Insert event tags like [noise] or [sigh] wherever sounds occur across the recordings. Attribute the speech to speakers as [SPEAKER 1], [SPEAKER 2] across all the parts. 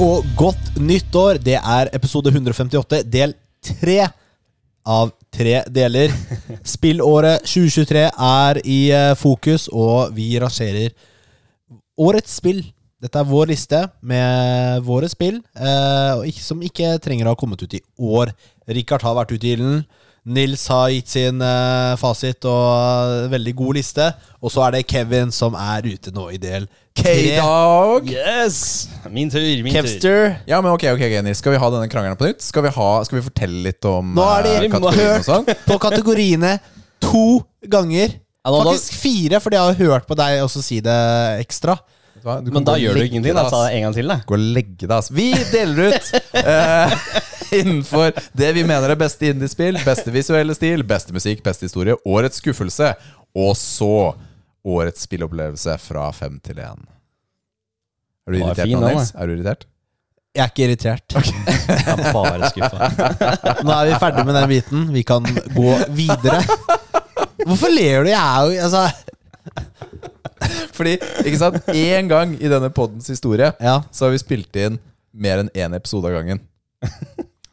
[SPEAKER 1] og godt nytt år. Det er episode 158, del tre av tre deler. Spillåret 2023 er i eh, fokus, og vi rangerer årets spill. Dette er vår liste med våre spill, eh, og ikke- som ikke trenger å ha kommet ut i år. Richard har vært ute i ilden. Nils har gitt sin eh, fasit og eh, veldig god liste. Og så er det Kevin som er ute nå i del tre.
[SPEAKER 2] K-dag.
[SPEAKER 3] Yes! Min tur, min tur.
[SPEAKER 1] Kevster.
[SPEAKER 2] Ja, men ok, ok, ok, Nils. Skal vi ha denne krangelen på nytt? Skal vi, ha, skal vi fortelle litt om
[SPEAKER 1] Nå er
[SPEAKER 2] eh,
[SPEAKER 1] de
[SPEAKER 2] kategorien og
[SPEAKER 3] [laughs]
[SPEAKER 2] sånn?
[SPEAKER 1] hørt på kategoriene to ganger.
[SPEAKER 3] Ja, nå da-
[SPEAKER 1] Faktisk fire, fordi jeg har hørt på deg også si det ekstra.
[SPEAKER 2] Vet du hva? kan
[SPEAKER 3] Men da
[SPEAKER 2] gå og
[SPEAKER 3] gjør du
[SPEAKER 2] legge
[SPEAKER 3] ingenting.
[SPEAKER 2] deg,
[SPEAKER 3] altså. Da
[SPEAKER 2] ass.
[SPEAKER 3] sa jeg en gang til, da.
[SPEAKER 2] Gå og legge deg, ass. Vi deler ut eh, [laughs] innenfor det vi mener er beste indiespill, beste visuelle stil, beste musikk, beste historie, årets skuffelse, og så årets spillopplevelse fra fem til én. Er du
[SPEAKER 3] Den var
[SPEAKER 2] irritert
[SPEAKER 3] fin,
[SPEAKER 2] nå,
[SPEAKER 3] den,
[SPEAKER 2] Nils? Er du irritert?
[SPEAKER 1] Jeg er ikke irritert.
[SPEAKER 3] Jeg er bare skuffa.
[SPEAKER 1] [laughs] Nå er vi ferdig med den biten. Vi kan gå videre. Hvorfor ler du? Jeg er jo altså,
[SPEAKER 2] Fordi, ikke sant, én gang i denne poddens historie
[SPEAKER 1] Ja.
[SPEAKER 2] så har vi spilt inn mer enn én episode av gangen.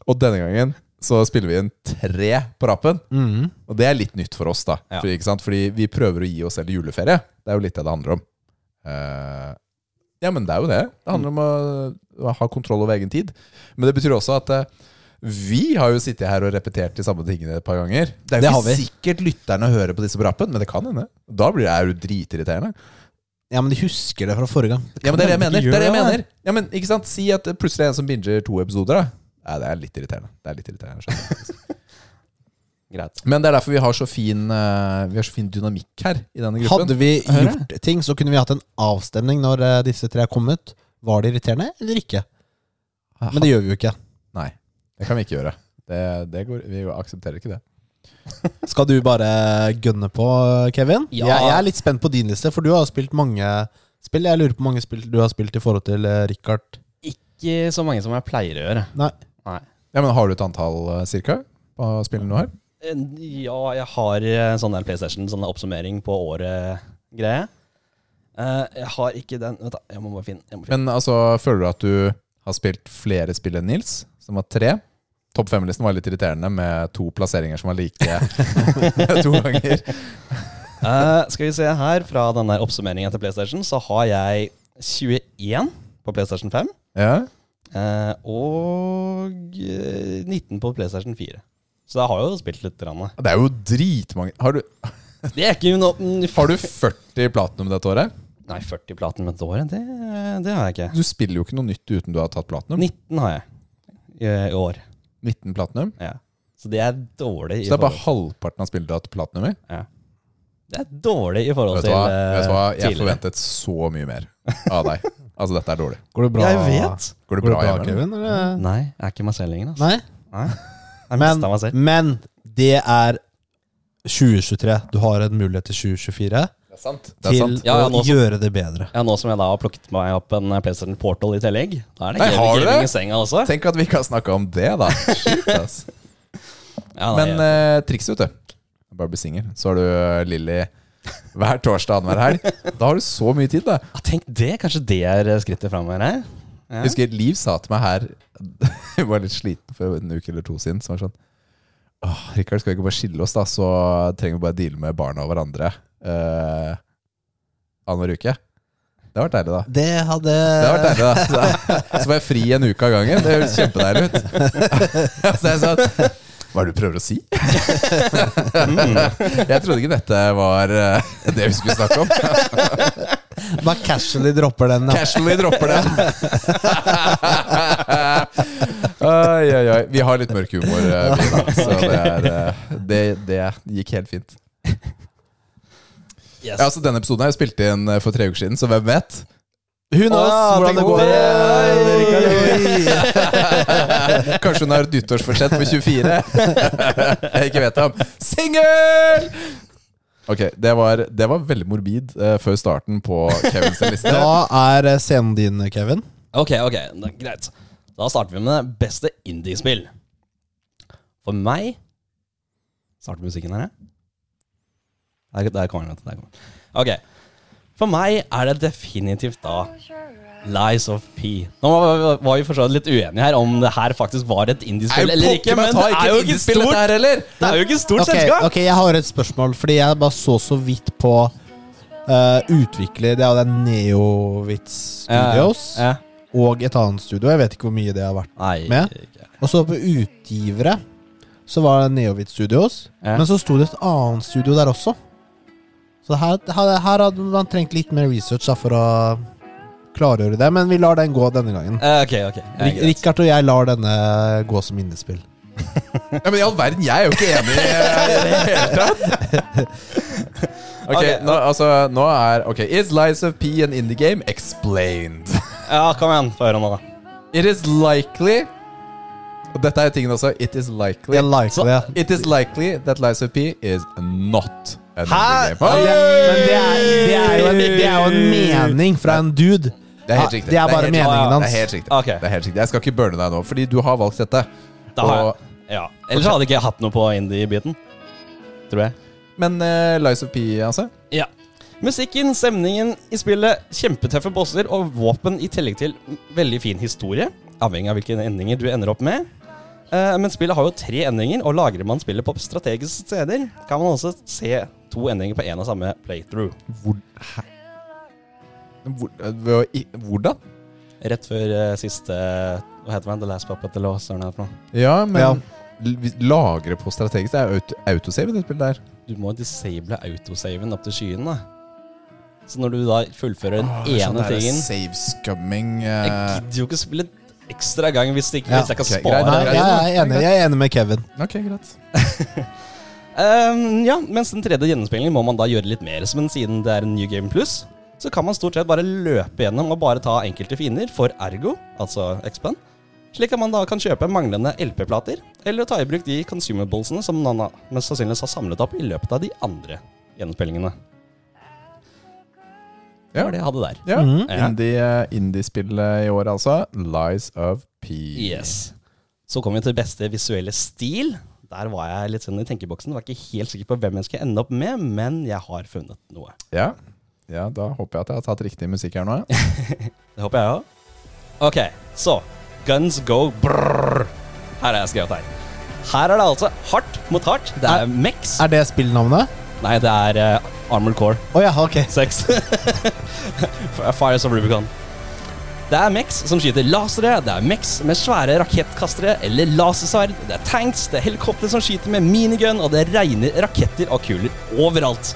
[SPEAKER 2] Og denne gangen så spiller vi inn tre på rappen.
[SPEAKER 1] mm.
[SPEAKER 2] Og det er litt nytt for oss, da.
[SPEAKER 3] Ja.
[SPEAKER 2] Fordi, ikke sant? Fordi vi prøver å gi oss selv juleferie. Det er jo litt det det handler om. Eh, ja, men det er jo det. Det handler om å, å ha kontroll over egen tid. Men det betyr også at eh, vi har jo sittet her og repetert de samme tingene et par ganger. Det er
[SPEAKER 1] Det
[SPEAKER 2] jo
[SPEAKER 1] har
[SPEAKER 2] ikke
[SPEAKER 1] vi.
[SPEAKER 2] sikkert lytterne hører på disse på rappen, men det kan hende. Da blir det, er det jo dritirriterende.
[SPEAKER 1] ja, men de husker det fra forrige gang.
[SPEAKER 2] Ja, men det er det jeg
[SPEAKER 3] Kan man
[SPEAKER 2] mener.
[SPEAKER 3] ikke
[SPEAKER 2] Det er det jeg
[SPEAKER 3] gjøre det?
[SPEAKER 2] mener. Ja, men ikke sant? Si at det plutselig er en som binger to episoder. da Nei, Det er litt irriterende. Det er litt irriterende skjønner jeg.
[SPEAKER 3] Greit.
[SPEAKER 2] Men det er derfor vi har så fin, eh, vi har så fin dynamikk her i denne gruppen.
[SPEAKER 1] Hadde vi
[SPEAKER 2] Hører jeg.
[SPEAKER 1] gjort ting, så kunne vi hatt en avstemning når eh, disse tre er kommet. Var det irriterende eller ikke?
[SPEAKER 2] Ah.
[SPEAKER 1] Men det gjør vi jo ikke.
[SPEAKER 2] Nei, det kan vi ikke gjøre. Det, det går, vi aksepterer ikke det.
[SPEAKER 1] Skal du bare gønne på, Kevin?
[SPEAKER 3] Ja.
[SPEAKER 1] Jeg, jeg er litt spent på din liste, for du har spilt mange spill. Jeg lurer på hvor mange spill du har spilt i forhold til eh, Richard.
[SPEAKER 3] Ikke så mange som jeg pleier å gjøre.
[SPEAKER 1] Nei.
[SPEAKER 3] Nei.
[SPEAKER 2] Ja, men Har du et antall eh, cirka på spillene du har?
[SPEAKER 3] En- Ja, jeg har eh, sånn der PlayStation, sånn der oppsummering på året-greie. Eh, jeg har ikke den Vent, da. Jeg må bare finne. Jeg må finne.
[SPEAKER 2] Men altså, føler du at du har spilt flere spill enn Nils, som var tre? Topp fem-listen var litt irriterende, med to plasseringer som var like [laughs] to ganger.
[SPEAKER 3] Eh, skal vi se her, fra den der oppsummeringen til PlayStation, så har jeg 21 på PlayStation 5.
[SPEAKER 2] Ja,
[SPEAKER 3] eh, og eh, 19 på PlayStation 4. Så jeg har jo spilt litt. Grann.
[SPEAKER 2] Det er jo dritmange. Har du,
[SPEAKER 3] Det er ikke noe
[SPEAKER 2] har du 40 platinum dette året?
[SPEAKER 3] Nei, 40 platen med et år, det, det har jeg ikke.
[SPEAKER 2] Du spiller jo ikke noe nytt uten du har tatt platinum.
[SPEAKER 3] 19 har jeg i, i år.
[SPEAKER 2] 19 platinum.
[SPEAKER 3] Ja. Så det er dårlig i
[SPEAKER 2] Så det er bare
[SPEAKER 3] forhold-
[SPEAKER 2] halvparten av spillet du har hatt platinum i?
[SPEAKER 3] ja. Det er dårlig i forhold
[SPEAKER 2] Vet du
[SPEAKER 3] til
[SPEAKER 2] hva?
[SPEAKER 3] eh,
[SPEAKER 2] Vet du hva? Jeg
[SPEAKER 3] tidligere.
[SPEAKER 2] forventet så mye mer av
[SPEAKER 3] [laughs]
[SPEAKER 2] deg. Altså, dette er dårlig.
[SPEAKER 1] Går det bra?
[SPEAKER 3] Jeg vet!
[SPEAKER 2] Går det
[SPEAKER 1] Går det
[SPEAKER 2] bra,
[SPEAKER 1] bra,
[SPEAKER 2] Emil?
[SPEAKER 1] Kevin? Eller?
[SPEAKER 3] Nei, jeg er ikke meg selv lenger. Altså.
[SPEAKER 1] Nei?
[SPEAKER 3] Nei. Jeg
[SPEAKER 1] Men,
[SPEAKER 3] mista meg selv.
[SPEAKER 1] men det er 2023. Du har en mulighet til 2024
[SPEAKER 2] Det er sant. Det er
[SPEAKER 1] til
[SPEAKER 2] sant.
[SPEAKER 3] Ja, ja,
[SPEAKER 1] å
[SPEAKER 3] nå-
[SPEAKER 1] gjøre det bedre.
[SPEAKER 3] Ja, Nå som jeg da har plukket meg opp en eh, PlayStation Portal i tillegg, da er det
[SPEAKER 2] Nei,
[SPEAKER 3] gaming,
[SPEAKER 2] har du det?
[SPEAKER 3] gaming i senga også.
[SPEAKER 2] Tenk at vi ikke har snakka om det,
[SPEAKER 3] [laughs]
[SPEAKER 2] da. Shit, ass.
[SPEAKER 3] Ja, nei,
[SPEAKER 2] Men eh, trikset, vet du. Bare bli singel. Så har du eh, Lilly hver torsdag annenhver helg. Da har du så mye tid, da.
[SPEAKER 3] ja, Ah, tenk det! Kanskje det er eh, skrittet framover her. Ja.
[SPEAKER 2] Jeg husker Liv sa til meg her [laughs] Hun var litt sliten for en uke eller to siden. Så var det sånn Åh, Rikard, skal vi ikke bare skille oss, da? Så trenger vi bare deale med barna og hverandre eh, annenhver uke. Det har vært deilig, da.
[SPEAKER 1] Det hadde
[SPEAKER 2] Det har vært deilig, da. Så var jeg fri en uke av gangen. Det høres kjempedeilig ut. [laughs] Så jeg sa Hva er det du prøver å si? [laughs] Jeg trodde ikke dette var eh, det vi skulle snakke om.
[SPEAKER 1] Bare casually dropper den. da.
[SPEAKER 2] Casually dropper den. [laughs] oi, oi, oi. Vi har litt mørk humor, eh, vi, da. så det, er, eh, det, det gikk helt fint.
[SPEAKER 3] Yes.
[SPEAKER 2] Ja, altså, denne episoden har jeg spilt inn eh, for tre uker siden, så hvem vet?
[SPEAKER 1] Who knows
[SPEAKER 2] Å,
[SPEAKER 1] hvordan det
[SPEAKER 2] tenk
[SPEAKER 1] går?
[SPEAKER 2] på
[SPEAKER 1] Oi.
[SPEAKER 2] Kanskje hun har et nyttårsforsett for 24? [laughs] jeg ikke vet om. Singel! Ok, det var, det var veldig morbid eh, før starten på Kevins liste.
[SPEAKER 1] Da er eh, scenen din, Kevin.
[SPEAKER 3] Ok, ok, da, greit. Da starter vi med det beste indiespill. For meg Starter musikken her, ja? Der, der kommer den. vet du, Der kommer den. Ok. For meg er det definitivt da
[SPEAKER 4] Close your eyes.
[SPEAKER 3] Lies of P. Nå var- var vi for så vidt litt uenige her om det her faktisk var et
[SPEAKER 2] Er
[SPEAKER 3] indiespill
[SPEAKER 2] jo
[SPEAKER 3] eller
[SPEAKER 2] pokker
[SPEAKER 3] ikke.
[SPEAKER 2] meg
[SPEAKER 3] Men
[SPEAKER 2] ta
[SPEAKER 3] det
[SPEAKER 2] ikke
[SPEAKER 3] er jo
[SPEAKER 2] et
[SPEAKER 3] ikke
[SPEAKER 2] indiespill dette
[SPEAKER 3] stort,
[SPEAKER 2] her heller!
[SPEAKER 3] det er jo ikke et stort
[SPEAKER 1] Ok,
[SPEAKER 3] selskap.
[SPEAKER 1] ok, jeg har et spørsmål, fordi jeg bare så så vidt på eh, utvikler Det er jo den Neovitz Studios
[SPEAKER 3] Ja, ja.
[SPEAKER 1] og et annet studio. Jeg vet ikke hvor mye det har vært.
[SPEAKER 3] Nei,
[SPEAKER 1] Med?
[SPEAKER 3] ikke.
[SPEAKER 1] Og så på utgivere så var det Neovit Studios,
[SPEAKER 3] Ja.
[SPEAKER 1] men så sto det et annet studio der også. Så her, her, her hadde man trengt litt mer research da, for å klargjøre det, men vi lar den gå denne gangen.
[SPEAKER 3] Eh, ok, ok. Ja,
[SPEAKER 1] Rik-
[SPEAKER 3] greit.
[SPEAKER 1] Rikard og jeg lar denne gå som innespill.
[SPEAKER 2] Ja, men i all verden, jeg er jo ikke enig eh, i det hele tatt. [laughs] Ok,
[SPEAKER 3] Ok.
[SPEAKER 2] nå, altså, nå er Ok, Is Lies of P an indie game? Explained.
[SPEAKER 3] Ja, kom igjen. Få høre nå, da.
[SPEAKER 2] It is likely Og dette er tingen også. It is likely
[SPEAKER 1] Jeg liker det.
[SPEAKER 2] It is likely that Lies of P is not an
[SPEAKER 3] Hæ?
[SPEAKER 2] indie game. Ah,
[SPEAKER 1] Men det, men det, er, det, er jo en, det er jo en mening fra en dude.
[SPEAKER 2] Det er helt riktig.
[SPEAKER 1] Det er bare
[SPEAKER 2] helt riktig.
[SPEAKER 1] meningen
[SPEAKER 2] Det
[SPEAKER 1] hans.
[SPEAKER 2] er helt riktig.
[SPEAKER 3] Ok.
[SPEAKER 2] Det er helt riktig. Jeg skal ikke burne deg nå, fordi du har valgt dette.
[SPEAKER 3] Da har
[SPEAKER 2] Og-
[SPEAKER 3] jeg, ja. Ellers hadde ikke jeg hatt noe på indie-biten. Tror jeg.
[SPEAKER 2] Men eh, Lies of P, altså?
[SPEAKER 3] Ja. Musikken, stemningen i spillet, kjempetøffe bosser og våpen i tillegg til veldig fin historie. Avhengig av hvilke endinger du ender opp med. Eh, Men spillet har jo tre endinger, og lagrer man spillet på strategiske steder, kan man også se to endinger på én en og samme playthrough.
[SPEAKER 2] Hvor, hæ? Hvor, eh, hvor- i- hvordan?
[SPEAKER 3] Rett før eh, siste Hva heter den? The Last Puppet eller hva søren er det for noe?
[SPEAKER 2] Ja, men
[SPEAKER 1] Ja.
[SPEAKER 2] l- vi lagre på strategisk. Det er auto autosave i det spillet der.
[SPEAKER 3] Du må disable autosaven opp til skyen, da. Så når du da fullfører den
[SPEAKER 2] Åh, det er sånn
[SPEAKER 3] ene
[SPEAKER 2] der
[SPEAKER 3] tingen
[SPEAKER 2] Save scumming
[SPEAKER 3] Jeg
[SPEAKER 2] eh,
[SPEAKER 3] gidder jo ikke spille ekstra gang hvis, det ikke,
[SPEAKER 1] Ja,
[SPEAKER 3] hvis jeg kan
[SPEAKER 2] ok,
[SPEAKER 3] spare.
[SPEAKER 2] greit,
[SPEAKER 1] Nei,
[SPEAKER 2] greit.
[SPEAKER 1] jeg, er enig, jeg er enig med Kevin.
[SPEAKER 2] Ok, greit.
[SPEAKER 3] Ehm, ja, mens den tredje gjennomspillingen må man da gjøre litt mer. Men siden det er en New Game Plus, så kan man stort sett bare løpe gjennom og bare ta enkelte fiender for ergo, altså X-Plan. Slik at man da kan kjøpe manglende LP-plater, eller ta i bruk de consumablesene som Nana mest sannsynligvis har samlet opp i løpet av de andre gjennomspillingene. Det
[SPEAKER 2] Ja.
[SPEAKER 3] var det jeg hadde der.
[SPEAKER 2] Ja.
[SPEAKER 1] Mhm.
[SPEAKER 3] Ja.
[SPEAKER 2] Indie, eh, Indie-spillet i år, altså. Lies of P.
[SPEAKER 3] Yes. Så kom vi til beste visuelle stil. Der var jeg litt sånn i tenkeboksen. Var ikke helt sikker på hvem jeg skulle ende opp med, men jeg har funnet noe.
[SPEAKER 2] Ja. ja, da håper jeg at jeg har tatt riktig musikk her nå.
[SPEAKER 3] [laughs]
[SPEAKER 2] ja.
[SPEAKER 3] Det håper jeg òg. Ok, så Guns go brrr. Her har jeg skrevet her. Her er det altså hardt mot hardt. Det er
[SPEAKER 1] Er-
[SPEAKER 3] Mex.
[SPEAKER 1] Er det spillnavnet?
[SPEAKER 3] Nei, det er eh, Armored Core
[SPEAKER 1] Å ja, ok.
[SPEAKER 3] 6. Fires of Rubicon. Det er Mex som skyter lasere, det er Mex med svære rakettkastere eller lasersverd, det er tanks, det er helikopter som skyter med minigun, og det regner raketter og kuler overalt.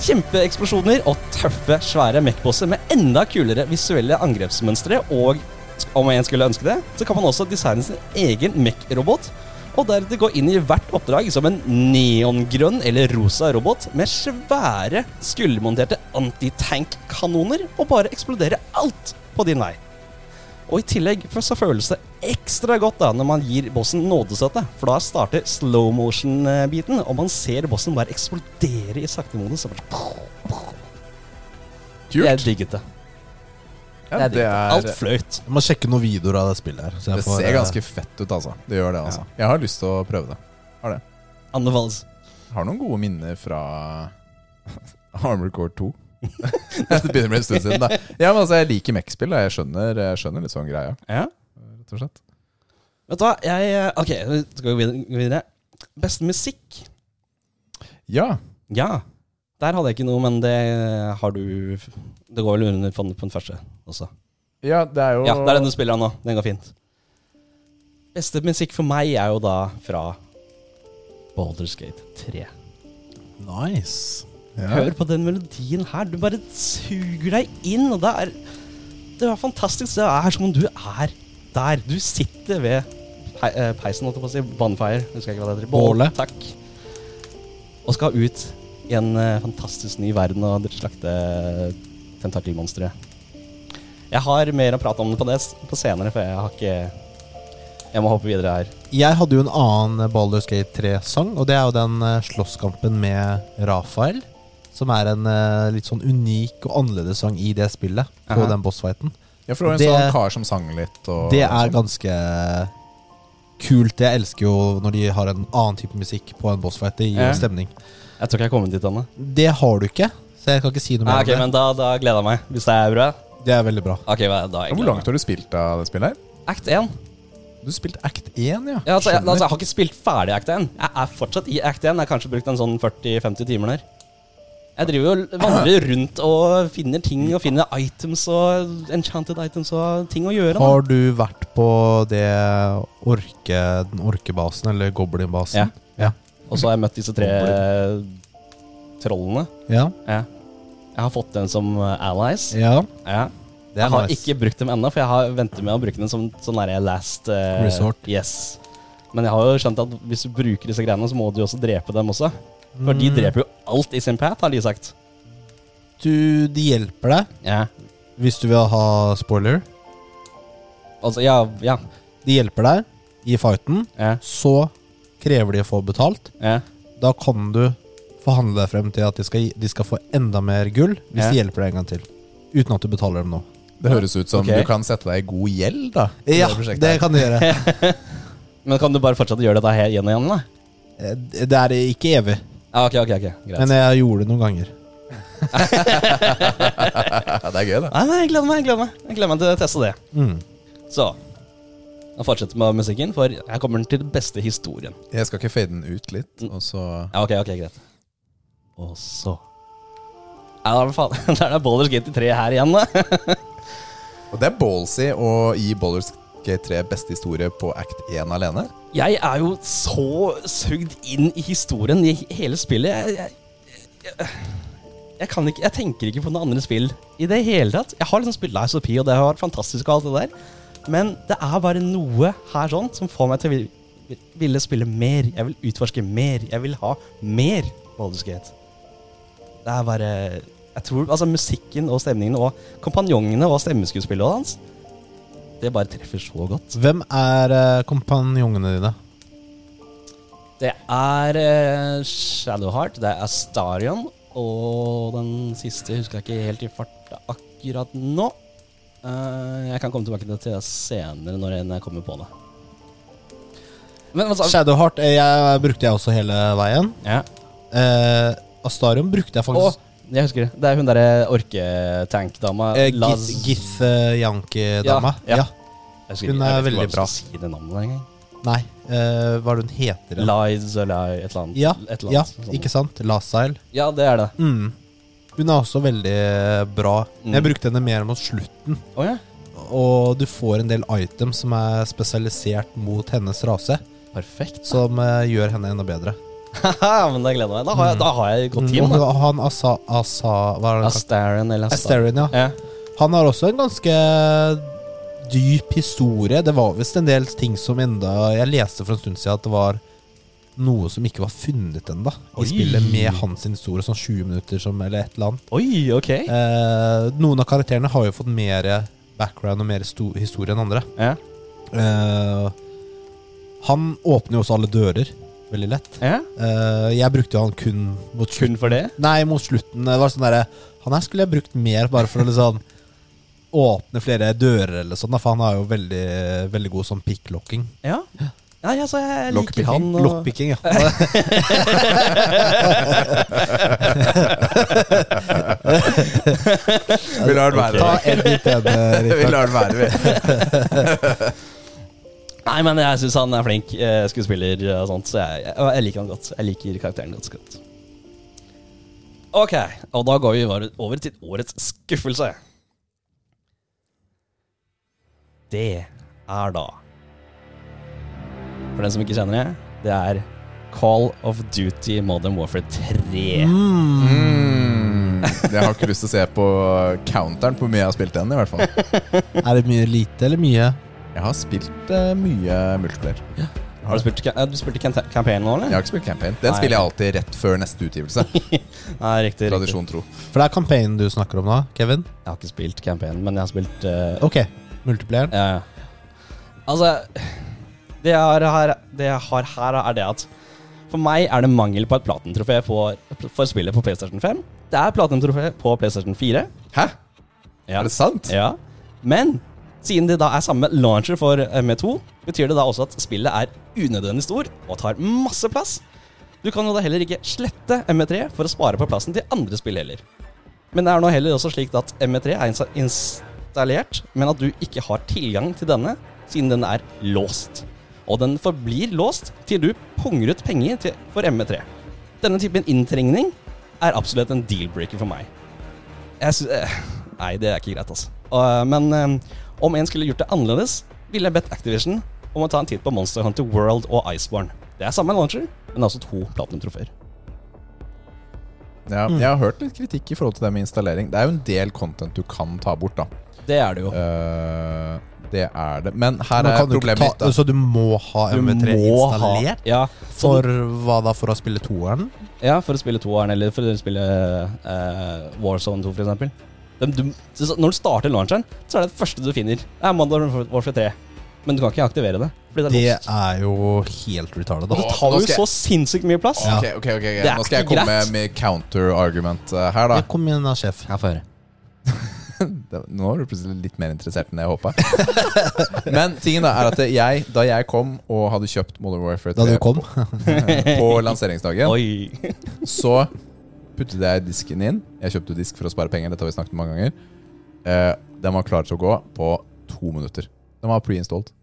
[SPEAKER 3] Kjempeeksplosjoner og tøffe, svære mech-bosser med enda kulere visuelle angrepsmønstre, og om en skulle ønske det, så kan man også designe sin egen mech-robot, og deretter gå inn i hvert oppdrag som en neongrønn eller rosa robot med svære, skuldermonterte antitank-kanoner, og bare eksplodere alt på din vei. Og i tillegg for så føles det ekstra godt da når man gir bossen nådestøtte, for da starter slow motion-biten, og man ser bossen bare eksplodere i sakte modus. og bare- Jeg
[SPEAKER 2] Kult.
[SPEAKER 3] digget det.
[SPEAKER 2] Ja, det,
[SPEAKER 3] Alt
[SPEAKER 2] er,
[SPEAKER 3] fløyt.
[SPEAKER 1] Jeg må sjekke noen videoer av det spillet her. så jeg
[SPEAKER 2] det
[SPEAKER 1] får,
[SPEAKER 2] ser
[SPEAKER 1] eh,
[SPEAKER 2] ganske fett ut, altså. Det gjør det, altså. Jeg har lyst til å prøve det. Har det.
[SPEAKER 3] Anbefales.
[SPEAKER 2] Har noen gode minner fra [laughs] Armored Core 2. [laughs] det begynner å bli en stund
[SPEAKER 3] [laughs]
[SPEAKER 2] siden, da. Ja, men altså, jeg liker Mech-spill. da. Jeg skjønner, jeg skjønner litt sånn greia,
[SPEAKER 3] Ja.
[SPEAKER 2] rett og slett.
[SPEAKER 3] Vet du hva, jeg eh, Ok, skal vi gå vid- gå videre? Beste musikk?
[SPEAKER 2] Ja.
[SPEAKER 3] Ja. Der hadde jeg ikke noe, men det har du Det går vel under på den på den første også.
[SPEAKER 2] Ja, det er jo
[SPEAKER 3] Ja, det er den du spiller av nå. Den går fint. Beste musikk for meg er jo da fra Baldur's Gate 3.
[SPEAKER 1] Nice.
[SPEAKER 3] Hør på den melodien her. Du bare suger deg inn, og det er Det er fantastisk. Det er som om du er der. Du sitter ved pe eh, peisen, holdt jeg på å si. Bonfire. Husker jeg ikke hva det heter.
[SPEAKER 1] Bålet.
[SPEAKER 3] Takk. Og skal ut i en eh, fantastisk ny verden og slakte eh, tentakelmonstre. Jeg har mer å prate om det på, det s- på senere, for jeg har ikke Jeg må hoppe videre her.
[SPEAKER 1] Jeg hadde jo en annen Baldur's Gate 3-sang, og det er jo den eh, slåsskampen med Rafael. Som er en eh, litt sånn unik og annerledes sang i det spillet, på
[SPEAKER 3] Aha.
[SPEAKER 1] den bossfighten.
[SPEAKER 2] Ja, for det var en
[SPEAKER 1] Det-
[SPEAKER 2] sånn kar som sang litt og
[SPEAKER 1] Det
[SPEAKER 2] sånn.
[SPEAKER 1] er ganske kult. Jeg elsker jo når de har en annen type musikk på en bossfight. Det gir
[SPEAKER 3] Ja.
[SPEAKER 1] jo stemning.
[SPEAKER 3] Jeg tror ikke jeg har kommet dit ennå.
[SPEAKER 1] Det har du ikke, så jeg kan ikke si noe mer
[SPEAKER 3] Ah,
[SPEAKER 1] om
[SPEAKER 3] ok,
[SPEAKER 1] det.
[SPEAKER 3] men da, da gleder jeg meg, hvis det er bra.
[SPEAKER 1] Det er veldig bra.
[SPEAKER 3] Ok, hva er det da?
[SPEAKER 2] Hvor
[SPEAKER 3] egentlig?
[SPEAKER 2] langt har du spilt av det spillet? her?
[SPEAKER 3] Act 1.
[SPEAKER 2] Du spilte Act 1, ja.
[SPEAKER 3] Ja, altså, jeg,
[SPEAKER 2] Skjønner.
[SPEAKER 3] altså, jeg har ikke spilt ferdig Act 1. Jeg er fortsatt i Act 1. Jeg har kanskje brukt en sånn 40-50 timer der. Jeg driver jo og vandrer rundt og finner ting, og finner items og enchanted items og ting å gjøre. Da.
[SPEAKER 1] Har du vært på det orke, den orkebasen, eller goblinbasen? Ja.
[SPEAKER 3] Og så har jeg møtt disse tre trollene.
[SPEAKER 1] Ja.
[SPEAKER 3] Ja. Jeg har fått den som eh, allies.
[SPEAKER 1] ja.
[SPEAKER 3] Ja.
[SPEAKER 1] Det
[SPEAKER 3] Jeg
[SPEAKER 1] er
[SPEAKER 3] har
[SPEAKER 1] nice.
[SPEAKER 3] ikke brukt dem ennå, for jeg har venter med å bruke dem som sånn der last eh,
[SPEAKER 1] Resort.
[SPEAKER 3] Yes. Men jeg har jo skjønt at hvis du bruker disse greiene, så må du jo også drepe dem også. For de
[SPEAKER 1] Mm.
[SPEAKER 3] dreper jo alt i sin path, har de sagt.
[SPEAKER 1] Du, de hjelper deg,
[SPEAKER 3] Ja.
[SPEAKER 1] hvis du vil ha spoiler.
[SPEAKER 3] Altså, ja, ja,
[SPEAKER 1] De hjelper deg i fighten.
[SPEAKER 3] ja,
[SPEAKER 1] Så krever de å få betalt.
[SPEAKER 3] ja.
[SPEAKER 1] Da kan du forhandle deg frem til at de skal, gi- de skal få enda mer gull hvis
[SPEAKER 3] Ja.
[SPEAKER 1] de hjelper deg en gang til. Uten at du betaler dem nå.
[SPEAKER 2] Det høres ut som
[SPEAKER 3] Ok.
[SPEAKER 2] du kan sette deg i god gjeld, da. i
[SPEAKER 1] Ja,
[SPEAKER 2] prosjektet
[SPEAKER 1] det
[SPEAKER 2] her.
[SPEAKER 1] kan de gjøre.
[SPEAKER 3] [laughs] Men kan du bare fortsette å gjøre dette her igjen og igjen, da?
[SPEAKER 1] Eh, Det er ikke evig,
[SPEAKER 3] Ja, ok, ok, ok, greit.
[SPEAKER 1] men eh, jeg gjorde det noen ganger.
[SPEAKER 2] Ja, det er gøy, det.
[SPEAKER 3] Nei, nei, jeg gleder meg, jeg gleder meg. Jeg gleder meg til å teste det.
[SPEAKER 1] Mm.
[SPEAKER 3] Så, nå fortsetter vi med musikken, for her kommer den til den beste historien.
[SPEAKER 2] Jeg skal ikke fade den ut litt, og så
[SPEAKER 3] Ja, ok, ok, greit. Og så Ja, da er det faen- [laughs] da er det Baldur's Gate 3 her igjen, da.
[SPEAKER 2] Og det er ballsy å gi Baldur's Gate 3 beste historie på act 1 alene.
[SPEAKER 3] Jeg er jo så sugd inn i historien i hele spillet. Jeg, jeg, jeg, jeg, kan ikke, jeg tenker ikke på noe andre spill i det hele tatt. Jeg har liksom spilt Lies of P, og det har vært fantastisk, og alt det der. Men det er bare noe her sånn som får meg til å vil- ville spille mer. Jeg vil utforske mer. Jeg vil ha mer Baldur's Gate. Det er bare Jeg tror altså musikken og stemningen og kompanjongene og stemmeskuespillet og hans, det bare treffer så godt.
[SPEAKER 1] Hvem er eh, kompanjongene dine?
[SPEAKER 3] Det er eh, Shadowheart, det er Astarion, og den siste husker jeg ikke helt i farta akkurat nå. Eh, jeg kan komme tilbake til det senere når jeg, når jeg kommer på det. Men altså
[SPEAKER 1] Shadowheart eh, jeg, brukte jeg også hele veien.
[SPEAKER 3] ja.
[SPEAKER 1] Eh, Astarion brukte jeg
[SPEAKER 3] Og
[SPEAKER 1] faktisk.
[SPEAKER 3] jeg husker det. Det er hun derre orketankdama.
[SPEAKER 1] Eh,
[SPEAKER 3] Laz-
[SPEAKER 1] Gith- Gith eh, Yankee-dama.
[SPEAKER 3] Ja, ja.
[SPEAKER 1] Ja.
[SPEAKER 3] Jeg husker
[SPEAKER 1] hun
[SPEAKER 3] ikke-
[SPEAKER 1] er
[SPEAKER 3] jeg vet ikke
[SPEAKER 1] veldig
[SPEAKER 3] hvordan jeg
[SPEAKER 1] bra.
[SPEAKER 3] skal Si det navnet engang.
[SPEAKER 1] Nei, eh, hva er det hun heter? igjen?
[SPEAKER 3] Lies eller et eller annet.
[SPEAKER 1] ja,
[SPEAKER 3] et eller
[SPEAKER 1] ja,
[SPEAKER 3] annet
[SPEAKER 1] ikke sant? Lasail.
[SPEAKER 3] ja, det er det.
[SPEAKER 1] Mm. Hun er også veldig eh, bra.
[SPEAKER 3] Mm.
[SPEAKER 1] Jeg brukte henne mer mot slutten.
[SPEAKER 3] Å ja.
[SPEAKER 1] Og du får en del items som er spesialisert mot hennes rase,
[SPEAKER 3] Perfekt. [laughs]
[SPEAKER 1] som eh, gjør henne enda bedre.
[SPEAKER 3] Haha, Men da gleder jeg meg. Da har jeg, da har jeg et godt
[SPEAKER 1] Mm,
[SPEAKER 3] team.
[SPEAKER 1] og
[SPEAKER 3] Da.
[SPEAKER 1] hun- han Asa... Asa hva er det han kaller-
[SPEAKER 3] Astarion eller Astarion.
[SPEAKER 1] Asterion, ja.
[SPEAKER 3] Ja.
[SPEAKER 1] Han har også en ganske dyp historie. Det var visst en del ting som enda Jeg leste for en stund siden at det var noe som ikke var funnet ennå
[SPEAKER 3] Oi.
[SPEAKER 1] i spillet, med hans historie, sånn 20 minutter som, eller et eller annet.
[SPEAKER 3] Oi, ok.
[SPEAKER 1] Eh, noen av karakterene har jo fått mer background og mer sto- historie enn andre.
[SPEAKER 3] Ja.
[SPEAKER 1] Eh, han åpner jo også alle dører veldig lett.
[SPEAKER 3] ja.
[SPEAKER 1] Eh, jeg brukte jo han kun mot slutten.
[SPEAKER 3] Kun for det?
[SPEAKER 1] Nei, mot slutten. Det var sånn derre Han her skulle jeg brukt mer, bare for å liksom åpne flere dører eller sånn. da, For han har jo veldig, veldig god sånn picklocking.
[SPEAKER 3] Ja. ja ja, så jeg liker
[SPEAKER 2] Lockpicking.
[SPEAKER 3] han og
[SPEAKER 1] Lockpicking, ja.
[SPEAKER 2] Vi lar den være.
[SPEAKER 1] Ta en
[SPEAKER 3] [laughs]
[SPEAKER 1] bit ene,
[SPEAKER 2] Vi
[SPEAKER 1] Rikard.
[SPEAKER 2] lar den være,
[SPEAKER 1] [laughs]
[SPEAKER 2] vi.
[SPEAKER 3] Nei, men jeg syns han er flink eh, skuespiller og sånt, så jeg, jeg, og jeg liker han godt. Jeg liker karakteren ganske godt. Ok, og da går vi bare over til årets skuffelse. Det er da For den som ikke kjenner det, det er Call of Duty Modern Warfare 3.
[SPEAKER 2] Mm. Jeg har ikke lyst til å se på counteren på hvor mye jeg har spilt den, i hvert fall.
[SPEAKER 1] Er det mye lite eller mye?
[SPEAKER 2] Jeg har spilt eh, mye multiplayer.
[SPEAKER 3] Har du spilt, eh, du spilte kamp- campaign nå,
[SPEAKER 2] Jeg
[SPEAKER 3] eller?
[SPEAKER 2] har ikke spilt campaign. Den
[SPEAKER 3] Nei.
[SPEAKER 2] spiller jeg alltid rett før neste utgivelse.
[SPEAKER 3] Nei, riktig. riktig.
[SPEAKER 2] Tradisjon tro.
[SPEAKER 1] For det er campaignen du snakker om nå, Kevin?
[SPEAKER 3] Jeg har ikke spilt campaign, men jeg har spilt eh,
[SPEAKER 1] Ok, multiplayeren.
[SPEAKER 3] ja, ja. Altså det jeg, har her, det jeg har her, er det at for meg er det mangel på et platintrofé for, for spillet på PlayStation 5. Det er platintrofé på PlayStation 4.
[SPEAKER 2] Hæ?
[SPEAKER 3] Ja.
[SPEAKER 2] Er det sant?
[SPEAKER 3] Ja. Men siden det da er samme launcher for ME2, betyr det da også at spillet er unødvendig stor og tar masse plass. Du kan jo da heller ikke slette E ME3 for å spare på plassen til andre spill heller. Men det E er nå heller også slik at ME3 er ins- ins- er alliert, men at du ikke har tilgang til denne siden den er låst. Og den forblir låst til du punger ut penger til, for ME3. Denne typen inntrengning er absolutt en deal-breaker for meg. Jeg sy eh, Nei, det er ikke greit, altså. Og, eh, men eh, om en skulle gjort det annerledes, ville jeg bedt Activision om å ta en titt på Monster Hunter World og Iceborne. Det er samme launcher, men altså to platinum-trofeer.
[SPEAKER 2] Ja, Jeg har hørt litt kritikk i forhold til det med installering. Det er jo en del content du kan ta bort, da.
[SPEAKER 3] Det er det jo.
[SPEAKER 2] Eh, det er det. Men her
[SPEAKER 1] Men
[SPEAKER 2] er
[SPEAKER 1] kan du ikke
[SPEAKER 2] problemet mitt.
[SPEAKER 1] ta, sånn.
[SPEAKER 2] Da.
[SPEAKER 1] så du må ha
[SPEAKER 2] Du
[SPEAKER 1] MV3
[SPEAKER 2] må ha-
[SPEAKER 1] installert?
[SPEAKER 3] Ja,
[SPEAKER 1] For hva da? For å spille toeren?
[SPEAKER 3] ja, for å spille toeren, eller for å spille eh, Warzone 2, for eksempel. Den, du, så når du starter launcheren, så er det det første du finner. Det er Modern Warfare 3. Men du kan ikke aktivere det. Fordi det
[SPEAKER 1] Det
[SPEAKER 3] er låst.
[SPEAKER 1] er jo helt retarded. altså.
[SPEAKER 3] Og det
[SPEAKER 1] Da.
[SPEAKER 3] tar
[SPEAKER 2] Nå
[SPEAKER 3] jo
[SPEAKER 2] skal jeg-
[SPEAKER 3] så sinnssykt mye plass.
[SPEAKER 2] Ok, ok, ok, ok.
[SPEAKER 3] Det er
[SPEAKER 2] Nå skal jeg
[SPEAKER 3] ikke
[SPEAKER 2] komme
[SPEAKER 3] greit.
[SPEAKER 2] med counter-argument eh, her, da.
[SPEAKER 1] Ja, Kom igjen da, sjef. Jeg får høre.
[SPEAKER 2] Det- Nå var du plutselig litt mer interessert enn jeg håpa. [laughs] Men tingen da er at jeg, da jeg kom og hadde kjøpt Modern Warfare
[SPEAKER 1] Da du
[SPEAKER 2] 3
[SPEAKER 1] kom?
[SPEAKER 2] på lanseringsdagen,
[SPEAKER 3] Oi.
[SPEAKER 2] så puttet jeg disken inn. Jeg kjøpte disk for å spare penger. Dette har vi snakket om mange ganger. Eh, den var klar til å gå på to minutter. Den var pre-installed.
[SPEAKER 3] [laughs]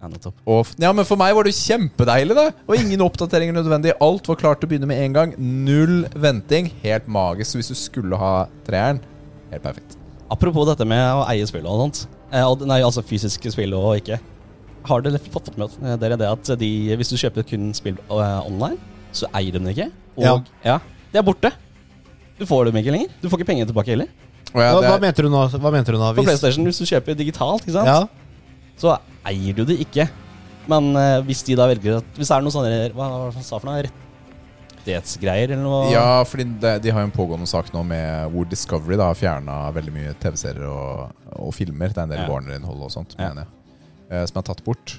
[SPEAKER 3] Ja, nettopp.
[SPEAKER 2] Og f- Ja, men for meg var det jo kjempedeilig, det! Og ingen oppdateringer nødvendig. Alt var klart til å begynne med en gang. Null venting. Helt magisk. Så hvis du skulle ha treeren, helt perfekt.
[SPEAKER 3] Apropos dette med å eie spill og sånt. Eh, og- Nei, altså fysiske spill og ikke. Har dere fått fått med eh, dere det at de, hvis du kjøper kun spill eh, online, så eier de det ikke? Og, ja. Det er borte. Du får dem ikke lenger. Du får ikke pengene tilbake heller.
[SPEAKER 2] Og ja,
[SPEAKER 1] Hva, hva
[SPEAKER 2] det er-
[SPEAKER 1] mente du nå? Hva mente du nå?
[SPEAKER 3] På
[SPEAKER 1] Hvis-
[SPEAKER 3] PlayStation, hvis du kjøper digitalt, ikke sant?
[SPEAKER 1] Ja.
[SPEAKER 3] så eier du det ikke. Men eh, hvis de da velger at Hvis det er noe sånne Hva var det han sa for noe? Rettighetsgreier eller noe?
[SPEAKER 2] ja, fordi de, de har jo en pågående sak nå med hvor Discovery da har fjerna veldig mye TV-serier og, og filmer. Det er en del
[SPEAKER 3] Ja.
[SPEAKER 2] Warner-innhold og sånt,
[SPEAKER 3] Ja.
[SPEAKER 2] mener jeg. Eh, som er tatt bort.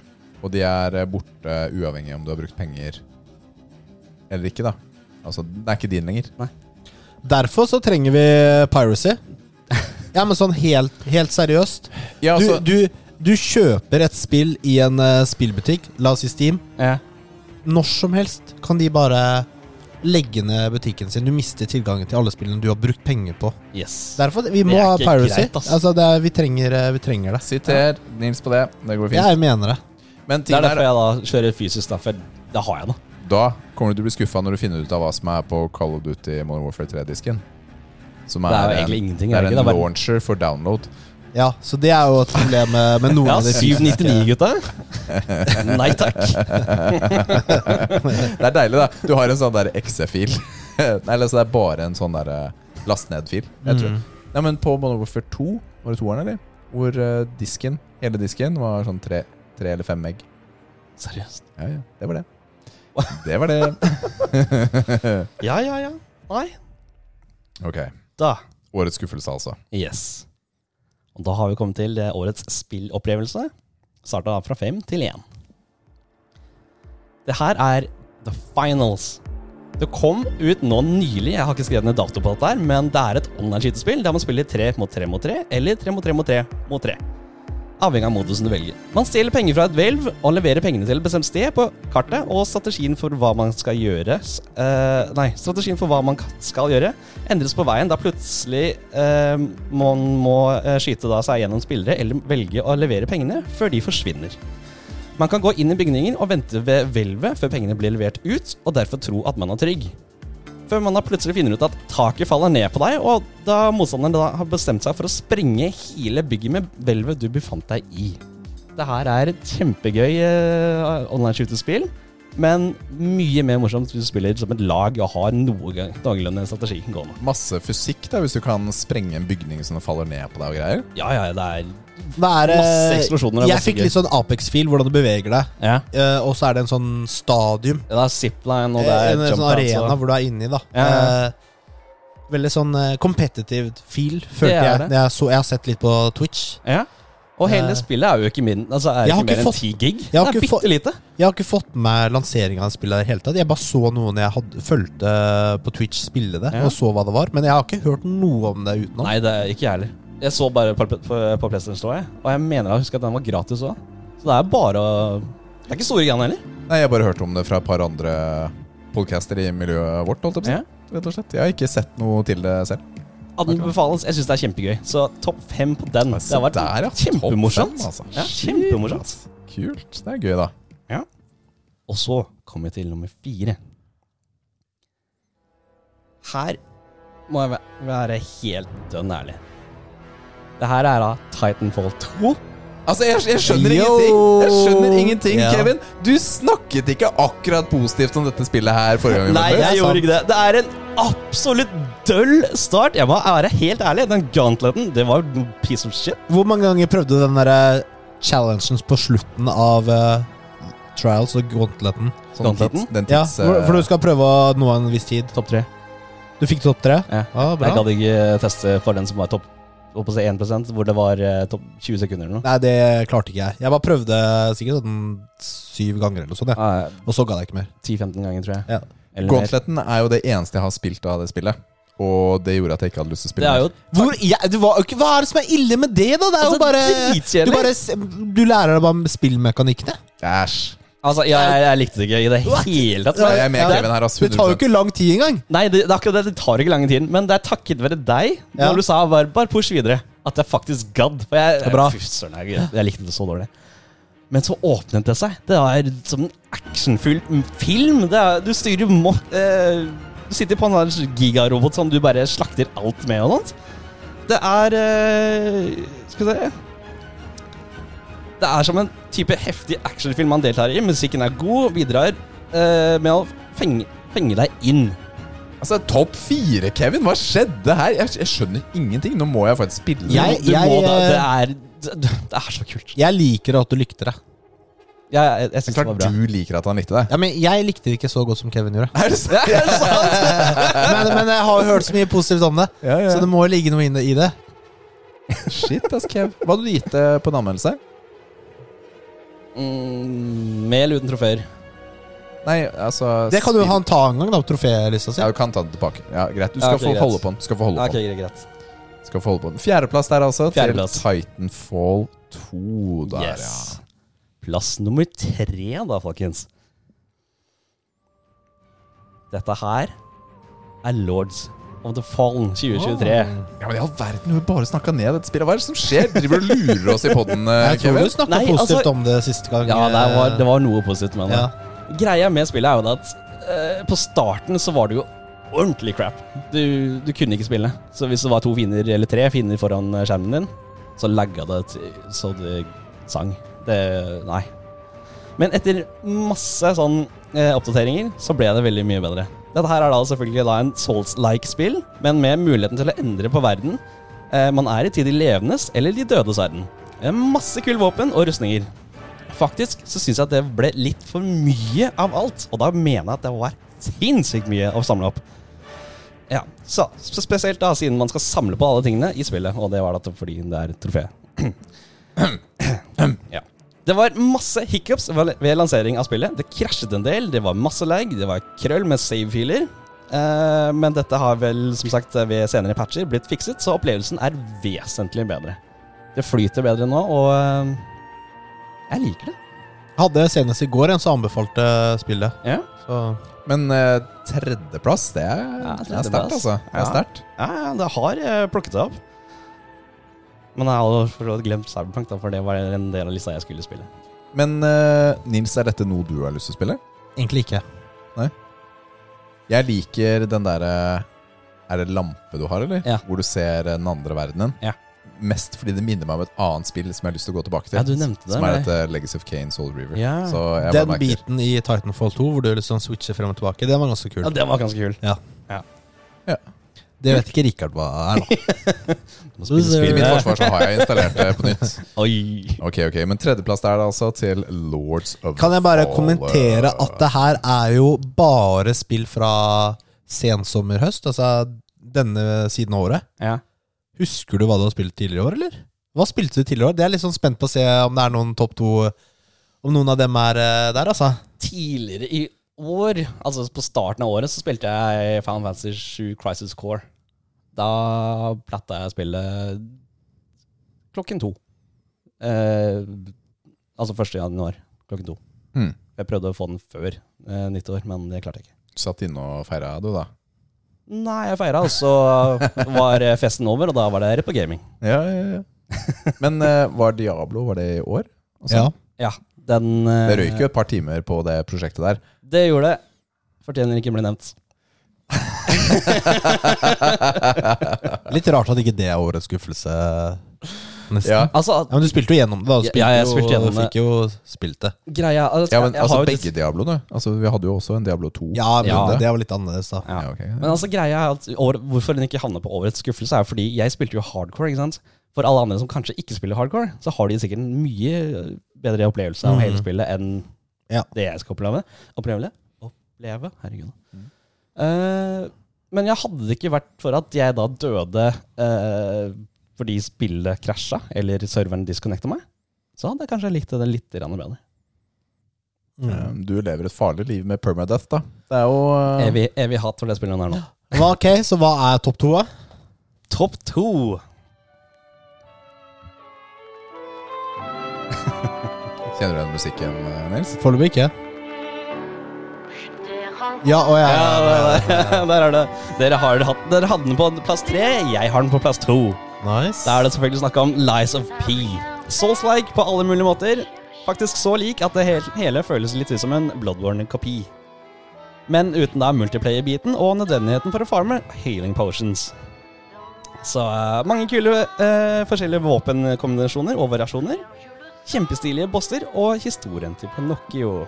[SPEAKER 2] Og de er eh, borte uavhengig om du har brukt penger eller ikke, da. Altså, det er ikke din lenger.
[SPEAKER 1] Derfor så trenger vi piracy.
[SPEAKER 3] [laughs]
[SPEAKER 1] Ja, men sånn helt, helt seriøst. Du,
[SPEAKER 2] Ja, altså,
[SPEAKER 1] du, du kjøper et spill i en eh, spillbutikk, la oss si Steam.
[SPEAKER 3] Ja.
[SPEAKER 1] Når som helst kan de bare legge ned butikken sin. Du mister tilgangen til alle spillene du har brukt penger på.
[SPEAKER 3] Yes.
[SPEAKER 1] Derfor, Vi
[SPEAKER 3] Det
[SPEAKER 1] må
[SPEAKER 3] er
[SPEAKER 1] ha
[SPEAKER 3] ikke
[SPEAKER 1] piracy.
[SPEAKER 3] greit, ass.
[SPEAKER 1] altså, det er, vi, trenger, eh, vi trenger det.
[SPEAKER 2] Siter Nils på det. Det går fint.
[SPEAKER 1] Jeg mener det.
[SPEAKER 2] Men
[SPEAKER 3] Det er
[SPEAKER 2] tingen er
[SPEAKER 3] derfor jeg da kjører fysisk, da, for da har jeg det.
[SPEAKER 2] Da kommer du til å bli skuffa når du finner ut av hva som er på Call of Duty Modern Warfare 3-disken. Som
[SPEAKER 3] Det er jo
[SPEAKER 2] en-
[SPEAKER 3] egentlig ingenting.
[SPEAKER 2] det er
[SPEAKER 3] er det
[SPEAKER 2] en
[SPEAKER 3] ikke? Det er bare
[SPEAKER 2] launcher for download. [laughs]
[SPEAKER 1] Ja, Så det er jo et problem eh, med noen
[SPEAKER 3] ja,
[SPEAKER 1] av de
[SPEAKER 3] 799, gutta. [laughs] Nei takk.
[SPEAKER 2] Det er deilig, da. Du har en sånn der XE-fil. Nei, altså det er bare en sånn der eh, last ned-fil. Jeg tror.
[SPEAKER 1] Mm.
[SPEAKER 2] Nei, men på Modern Warfare 2, var det toeren, eller? Hvor eh, disken, hele disken, var sånn tre, tre eller fem egg.
[SPEAKER 3] Seriøst.
[SPEAKER 2] Ja, ja, det var det. Det var det.
[SPEAKER 3] Ja, ja, ja. Nei.
[SPEAKER 2] Ok.
[SPEAKER 3] Da.
[SPEAKER 2] Årets skuffelse, altså.
[SPEAKER 3] Yes. Og da har vi kommet til eh, årets spillopplevelse. Starta da fra fem til én. Det her er The Finals. Det kom ut nå nylig, jeg har ikke skrevet ned dato på dette, her, men det er et online-skytespill der man spiller tre mot tre mot tre, eller tre mot tre mot tre mot tre. Avhengig av modusen du velger. Man stjeler penger fra et hvelv og leverer pengene til et bestemt sted på kartet, og strategien for hva man skal gjøre s- eh, Nei, strategien for hva man k- skal gjøre, endres på veien da plutselig eh, man må eh, skyte da seg gjennom spillere eller velge å levere pengene før de forsvinner. Man kan gå inn i bygningen og vente ved hvelvet før pengene blir levert ut, og derfor tro at man er trygg. Før man da plutselig finner ut at taket faller ned på deg, og da motstanderen da har bestemt seg for å sprenge hele bygget med hvelvet du befant deg i. Det her er et kjempegøy eh, online-skytespill, men mye mer morsomt hvis du spiller som et lag og har noe gang- noenlunde strategi gående.
[SPEAKER 2] Masse fysikk, da, hvis du kan sprenge en bygning som faller ned på deg og greier.
[SPEAKER 3] Ja, ja, det er
[SPEAKER 1] Det er, eh,
[SPEAKER 3] Masse eksplosjoner og
[SPEAKER 1] Jeg
[SPEAKER 3] masse
[SPEAKER 1] fikk
[SPEAKER 3] gøy.
[SPEAKER 1] litt sånn Apex-feel, hvordan du beveger deg.
[SPEAKER 3] Ja.
[SPEAKER 1] Eh, og så er det en sånn stadium.
[SPEAKER 3] Det er zipline og det
[SPEAKER 1] eh,
[SPEAKER 3] er
[SPEAKER 1] en
[SPEAKER 3] jump
[SPEAKER 1] sånn
[SPEAKER 3] pads
[SPEAKER 1] arena
[SPEAKER 3] og-
[SPEAKER 1] hvor du er inni, da.
[SPEAKER 3] Ja, ja.
[SPEAKER 1] Eh, veldig sånn eh, competitive feel, følte
[SPEAKER 3] er
[SPEAKER 1] jeg.
[SPEAKER 3] det.
[SPEAKER 1] Jeg, så, jeg har sett litt på Twitch.
[SPEAKER 3] Ja. Og hele
[SPEAKER 1] Eh.
[SPEAKER 3] spillet er jo ikke, min, altså er
[SPEAKER 1] Jeg
[SPEAKER 3] jo
[SPEAKER 1] har
[SPEAKER 3] ikke mer
[SPEAKER 1] ikke
[SPEAKER 3] enn
[SPEAKER 1] fått-
[SPEAKER 3] ti gig.
[SPEAKER 1] jeg har
[SPEAKER 3] det er
[SPEAKER 1] ikke fått-
[SPEAKER 3] bitte lite.
[SPEAKER 1] Jeg har ikke fått med lanseringa av spillet i det hele tatt. Jeg bare så noen jeg hadde, fulgte på Twitch spille det,
[SPEAKER 3] Ja.
[SPEAKER 1] og så hva det var. Men jeg har ikke hørt noe om det utenom.
[SPEAKER 3] Nei, det er ikke jeg heller. Jeg så bare på, på, på PlayStation Store, og jeg mener jeg husker at den var gratis òg. Så det er bare å Det er ikke store greiene heller.
[SPEAKER 2] Nei, jeg har bare hørt om det fra et par andre podcaster i miljøet vårt, holdt jeg på å si. Rett og slett. Jeg har ikke sett noe til det selv.
[SPEAKER 3] Anbefales. Jeg syns det er kjempegøy. Så topp fem på
[SPEAKER 2] Mm. sånn
[SPEAKER 3] den. Det har vært
[SPEAKER 2] der, ja. Topp
[SPEAKER 3] kjempemorsomt.
[SPEAKER 2] fem, altså.
[SPEAKER 3] Ja, kjempemorsomt.
[SPEAKER 2] Kult. Det er gøy, da.
[SPEAKER 3] Og så kommer vi til nummer fire. Her må jeg væ- være helt dønn ærlig. Det her er da Titanfall 2.
[SPEAKER 2] Altså, jeg, jeg skjønner
[SPEAKER 1] Yo!
[SPEAKER 2] ingenting, Jeg skjønner ingenting,
[SPEAKER 1] Ja.
[SPEAKER 2] Kevin. Du snakket ikke akkurat positivt om dette spillet her forrige gang. vi
[SPEAKER 3] Nei,
[SPEAKER 2] møttes.
[SPEAKER 3] jeg gjorde ikke det. Det er en absolutt døll start. Jeg må være helt ærlig. Den gauntleten, det var noe piece of shit.
[SPEAKER 1] Hvor mange ganger prøvde du den derre challengen på slutten av eh, Trials og Gauntleten?
[SPEAKER 2] Sånn
[SPEAKER 3] Gauntleten?
[SPEAKER 2] tids- den
[SPEAKER 1] Ja,
[SPEAKER 2] tids...
[SPEAKER 1] for,
[SPEAKER 2] eh,
[SPEAKER 1] for du skal prøve å nå en viss tid.
[SPEAKER 3] Topp tre.
[SPEAKER 1] Du fikk topp tre?
[SPEAKER 3] Ja.
[SPEAKER 1] Ah,
[SPEAKER 3] Jeg
[SPEAKER 1] bra.
[SPEAKER 3] gadd ikke eh, teste for den som var topp holdt på å si 1 hvor det var eh, topp 20 sekunder eller noe.
[SPEAKER 1] Nei, det klarte ikke jeg. Jeg bare prøvde sikkert sånn syv ganger eller noe sånt. jeg.
[SPEAKER 3] Ja,
[SPEAKER 1] Og så gadd jeg ikke mer.
[SPEAKER 3] 10-15 ganger, tror jeg.
[SPEAKER 1] Ja.
[SPEAKER 3] Eller mer.
[SPEAKER 2] Gauntleten er jo det eneste jeg har spilt av det spillet. Og det gjorde at jeg ikke hadde lyst til å
[SPEAKER 3] Det
[SPEAKER 2] spille
[SPEAKER 3] er jo
[SPEAKER 1] Hvor, jeg, det var, jo ikke- hva er det som er ille med det, da? Det er
[SPEAKER 3] Altså,
[SPEAKER 1] jo bare
[SPEAKER 3] dritkjedelig.
[SPEAKER 1] du, bare s- du lærer deg bare om spillmekanikkene.
[SPEAKER 2] mer. Æsj.
[SPEAKER 3] Altså, jeg, jeg, jeg likte det ikke i det hele tatt.
[SPEAKER 2] Jeg er med
[SPEAKER 1] Ja, det-
[SPEAKER 2] Kevin her, ass.
[SPEAKER 1] Det tar jo ikke lang tid engang.
[SPEAKER 3] Nei, det, det, er akkurat det, det tar ikke lang tid, men det er takket være deg,
[SPEAKER 1] Ja.
[SPEAKER 3] når du sa bare, bare push videre, at jeg faktisk gadd. For jeg,
[SPEAKER 1] er bra.
[SPEAKER 3] Fy søren, jeg, jeg likte det så dårlig. Men så åpnet det seg. Det er som en actionfylt film. Det er, du styrer mo eh, Du sitter på en sånn gigarobot som du bare slakter alt med og sånt. Det er eh, Skal vi se Det er som en type heftig actionfilm man deltar i. Musikken er god, bidrar eh, med å fenge, fenge deg inn.
[SPEAKER 2] Altså, Topp fire, Kevin? Hva skjedde her? Jeg, jeg skjønner ingenting. Nå må jeg faktisk spille.
[SPEAKER 1] Jeg-
[SPEAKER 3] du må da,
[SPEAKER 1] eh,
[SPEAKER 3] det er det- Det er så kult.
[SPEAKER 1] Jeg liker at du likte det.
[SPEAKER 3] Jeg, jeg, jeg
[SPEAKER 2] det
[SPEAKER 3] syns
[SPEAKER 2] er
[SPEAKER 3] det var
[SPEAKER 2] klart
[SPEAKER 3] bra.
[SPEAKER 2] du liker at han likte det.
[SPEAKER 1] Ja, men Jeg likte det ikke så godt som Kevin
[SPEAKER 3] [laughs]
[SPEAKER 1] gjorde. [laughs]
[SPEAKER 2] Er det [laughs] sant?
[SPEAKER 1] Men, men jeg har jo hørt så mye positivt om det,
[SPEAKER 2] Ja, ja.
[SPEAKER 1] så det må jo ligge noe inne i det.
[SPEAKER 2] Shit, ass, Kev. Hva hadde du gitt eh, på en anmeldelse?
[SPEAKER 3] Mm, med eller uten trofeer.
[SPEAKER 2] Nei, altså
[SPEAKER 1] Det kan jo
[SPEAKER 2] spill-
[SPEAKER 1] han ta en gang, da. Trofélista si.
[SPEAKER 2] Ja, du kan ta den tilbake. Ja, Greit. Du
[SPEAKER 3] Ja,
[SPEAKER 2] skal
[SPEAKER 3] ok,
[SPEAKER 2] få
[SPEAKER 3] greit.
[SPEAKER 2] holde på den. Du skal få holde
[SPEAKER 3] Ok,
[SPEAKER 2] på den.
[SPEAKER 3] greit, greit.
[SPEAKER 2] Du Skal få holde på den. Fjerdeplass der, altså.
[SPEAKER 3] Fjerdeplass.
[SPEAKER 2] Til Titanfall 2 der,
[SPEAKER 3] Yes. Plass nummer tre, da, folkens. Dette her er Lords of the Fallen 2023.
[SPEAKER 2] ja. ja. Men i all verden, du har bare snakka ned dette spillet. Hva er det som skjer? Driver du og lurer oss i poden,
[SPEAKER 1] Jeg tror
[SPEAKER 2] Kevin?
[SPEAKER 1] du snakka
[SPEAKER 3] Nei,
[SPEAKER 1] positivt
[SPEAKER 3] altså-
[SPEAKER 1] om det siste gang. eh,
[SPEAKER 3] Ja, det var, det var noe positivt med det.
[SPEAKER 1] Ja.
[SPEAKER 3] Greia med spillet er jo det at eh, på starten så var det jo ordentlig crap. Du, du kunne ikke spille. Så hvis det var to fiender, eller tre fiender foran eh, skjermen din, så lagga det til, så det sang. Det Nei. Men etter masse sånn eh, oppdateringer så ble det veldig mye bedre. Dette her er da selvfølgelig da en souls-like spill, men med muligheten til å endre på verden. Eh, man er i tid i levendes eller de dødes verden. Eh, masse kule våpen og rustninger. Faktisk så syns jeg at det ble litt for mye av alt, og da mener jeg at det var sinnssykt mye å samle opp. Ja, så, så Spesielt da siden man skal samle på alle tingene i spillet, og det var da fordi det er et trofé. ja. Det var masse hiccups ved ved lansering av spillet. Det krasjet en del, det var masse lag, det var krøll med save-filer. Eh, men dette har vel som sagt ved senere patcher blitt fikset, så opplevelsen er vesentlig bedre. Det flyter bedre nå, og eh, jeg liker det.
[SPEAKER 1] Hadde senest i går en som anbefalte spillet.
[SPEAKER 3] Ja.
[SPEAKER 1] Så
[SPEAKER 2] Men eh, tredjeplass, det er,
[SPEAKER 3] Ja,
[SPEAKER 2] det er
[SPEAKER 3] tredjeplass.
[SPEAKER 2] sterkt, altså. Det
[SPEAKER 3] Ja.
[SPEAKER 2] er sterkt.
[SPEAKER 3] Ja, ja, det har eh, plukket seg opp. Men jeg hadde for så vidt glemt Cyberpunk, da, for det var en del av lista jeg skulle spille.
[SPEAKER 2] Men eh, Nils, er dette noe du har lyst til å spille?
[SPEAKER 1] egentlig ikke.
[SPEAKER 2] Jeg liker den derre Er det lampe du har, eller?
[SPEAKER 3] Ja.
[SPEAKER 2] Hvor du ser eh, den andre verdenen.
[SPEAKER 3] Ja.
[SPEAKER 2] Mest fordi det minner meg om et annet spill som jeg har lyst til å gå tilbake til.
[SPEAKER 3] Ja, du nevnte det,
[SPEAKER 2] Som er
[SPEAKER 3] nei.
[SPEAKER 2] dette Legacy of Kane Soul River.
[SPEAKER 3] Ja.
[SPEAKER 2] Så jeg bare
[SPEAKER 1] Den
[SPEAKER 2] merker.
[SPEAKER 1] biten i Titanfall 2 hvor du liksom switcher frem og tilbake, den var ganske kul.
[SPEAKER 3] Ja, Det var ganske kul.
[SPEAKER 1] Det vet ikke Richard hva er,
[SPEAKER 3] [laughs]
[SPEAKER 1] da.
[SPEAKER 3] Du må spille
[SPEAKER 2] I
[SPEAKER 3] spillet.
[SPEAKER 2] mitt forsvar så har jeg installert det på nytt.
[SPEAKER 3] [laughs] Oi.
[SPEAKER 2] Ok, ok, Men tredjeplass der, da, altså, til Lords of
[SPEAKER 1] Kan jeg bare
[SPEAKER 2] Fallen.
[SPEAKER 1] kommentere at det her er jo bare spill fra sensommer-høst? Altså denne siden av året.
[SPEAKER 3] Ja.
[SPEAKER 1] Husker du hva du har spilt tidligere i år, eller? Hva spilte du tidligere i år? Det er litt sånn spent på å se om det er noen topp to Om noen av dem er eh, der, altså.
[SPEAKER 3] Tidligere i år, altså på starten av året, så spilte jeg Final Fantasy 7 Crisis Core. Da platta jeg spillet klokken to. Eh, altså 1. januar klokken to.
[SPEAKER 2] Hmm.
[SPEAKER 3] Jeg prøvde å få den før eh, nyttår, men det klarte jeg ikke.
[SPEAKER 2] Satt inne og feira, du, da?
[SPEAKER 3] Nei, jeg feira, og så var eh, festen over, og da var det rett på gaming.
[SPEAKER 2] Ja, ja, ja. Men eh, var Diablo var det i år? Altså,
[SPEAKER 1] Ja.
[SPEAKER 3] Ja, den eh,
[SPEAKER 2] Det røyk jo et par timer på det prosjektet der.
[SPEAKER 3] Det gjorde det. Fortjener ikke å bli nevnt.
[SPEAKER 1] Litt rart at ikke det er årets skuffelse, nesten.
[SPEAKER 2] Ja,
[SPEAKER 1] Ja.
[SPEAKER 3] Altså,
[SPEAKER 1] men du spilte jo gjennom det, da. Du
[SPEAKER 3] Ja, ja, jeg spilte gjennom
[SPEAKER 1] og
[SPEAKER 3] det.
[SPEAKER 1] Fikk jo spilt det.
[SPEAKER 3] greia altså,
[SPEAKER 2] ja men
[SPEAKER 3] jeg
[SPEAKER 2] altså
[SPEAKER 3] har jo
[SPEAKER 2] begge Diabloene. Altså, vi hadde jo også en Diablo 2.
[SPEAKER 1] Ja, men
[SPEAKER 3] Ja.
[SPEAKER 1] Det, det var litt annerledes, da.
[SPEAKER 3] Ja.
[SPEAKER 2] Ja, ok.
[SPEAKER 3] Men altså greia er at år, Hvorfor den ikke havner på årets skuffelse, er jo fordi jeg spilte jo hardcore. ikke sant? For alle andre som kanskje ikke spiller hardcore, så har de sikkert en mye bedre opplevelse av hele spillet enn
[SPEAKER 1] Ja.
[SPEAKER 3] det jeg skal oppleve. Oppleve? oppleve? Herregud. Eh, men jeg hadde det ikke vært for at jeg da døde eh, fordi spillet krasja, eller serveren disconnecta meg, så hadde jeg kanskje likt det litt grann bedre. Mm.
[SPEAKER 2] Eh, Du lever et farlig liv med permadeath, da. Det er jo eh,
[SPEAKER 3] Evig, evig hat for det spillet der nå.
[SPEAKER 1] Mm. Hva, ok, Så hva er topp to, da?
[SPEAKER 3] Topp to.
[SPEAKER 2] Kjenner du den musikken, eh, Nils?
[SPEAKER 1] Foreløpig ikke. Ja, og jeg
[SPEAKER 3] Ja, der, der er det. [laughs] Dere, har hatt, dere hadde den på plass tre, jeg har den på plass to.
[SPEAKER 1] Nice.
[SPEAKER 3] Da er det selvfølgelig snakk om Lies of P. Souls-like på alle mulige måter. Faktisk så lik at det hele, hele føles litt ut som en Bloodborne-kopi. Men uten da multiplayer-biten og nødvendigheten for å farme healing potions. Så eh, mange kule eh, forskjellige våpenkombinasjoner og variasjoner. Kjempestilige bosser og historien til Pinocchio.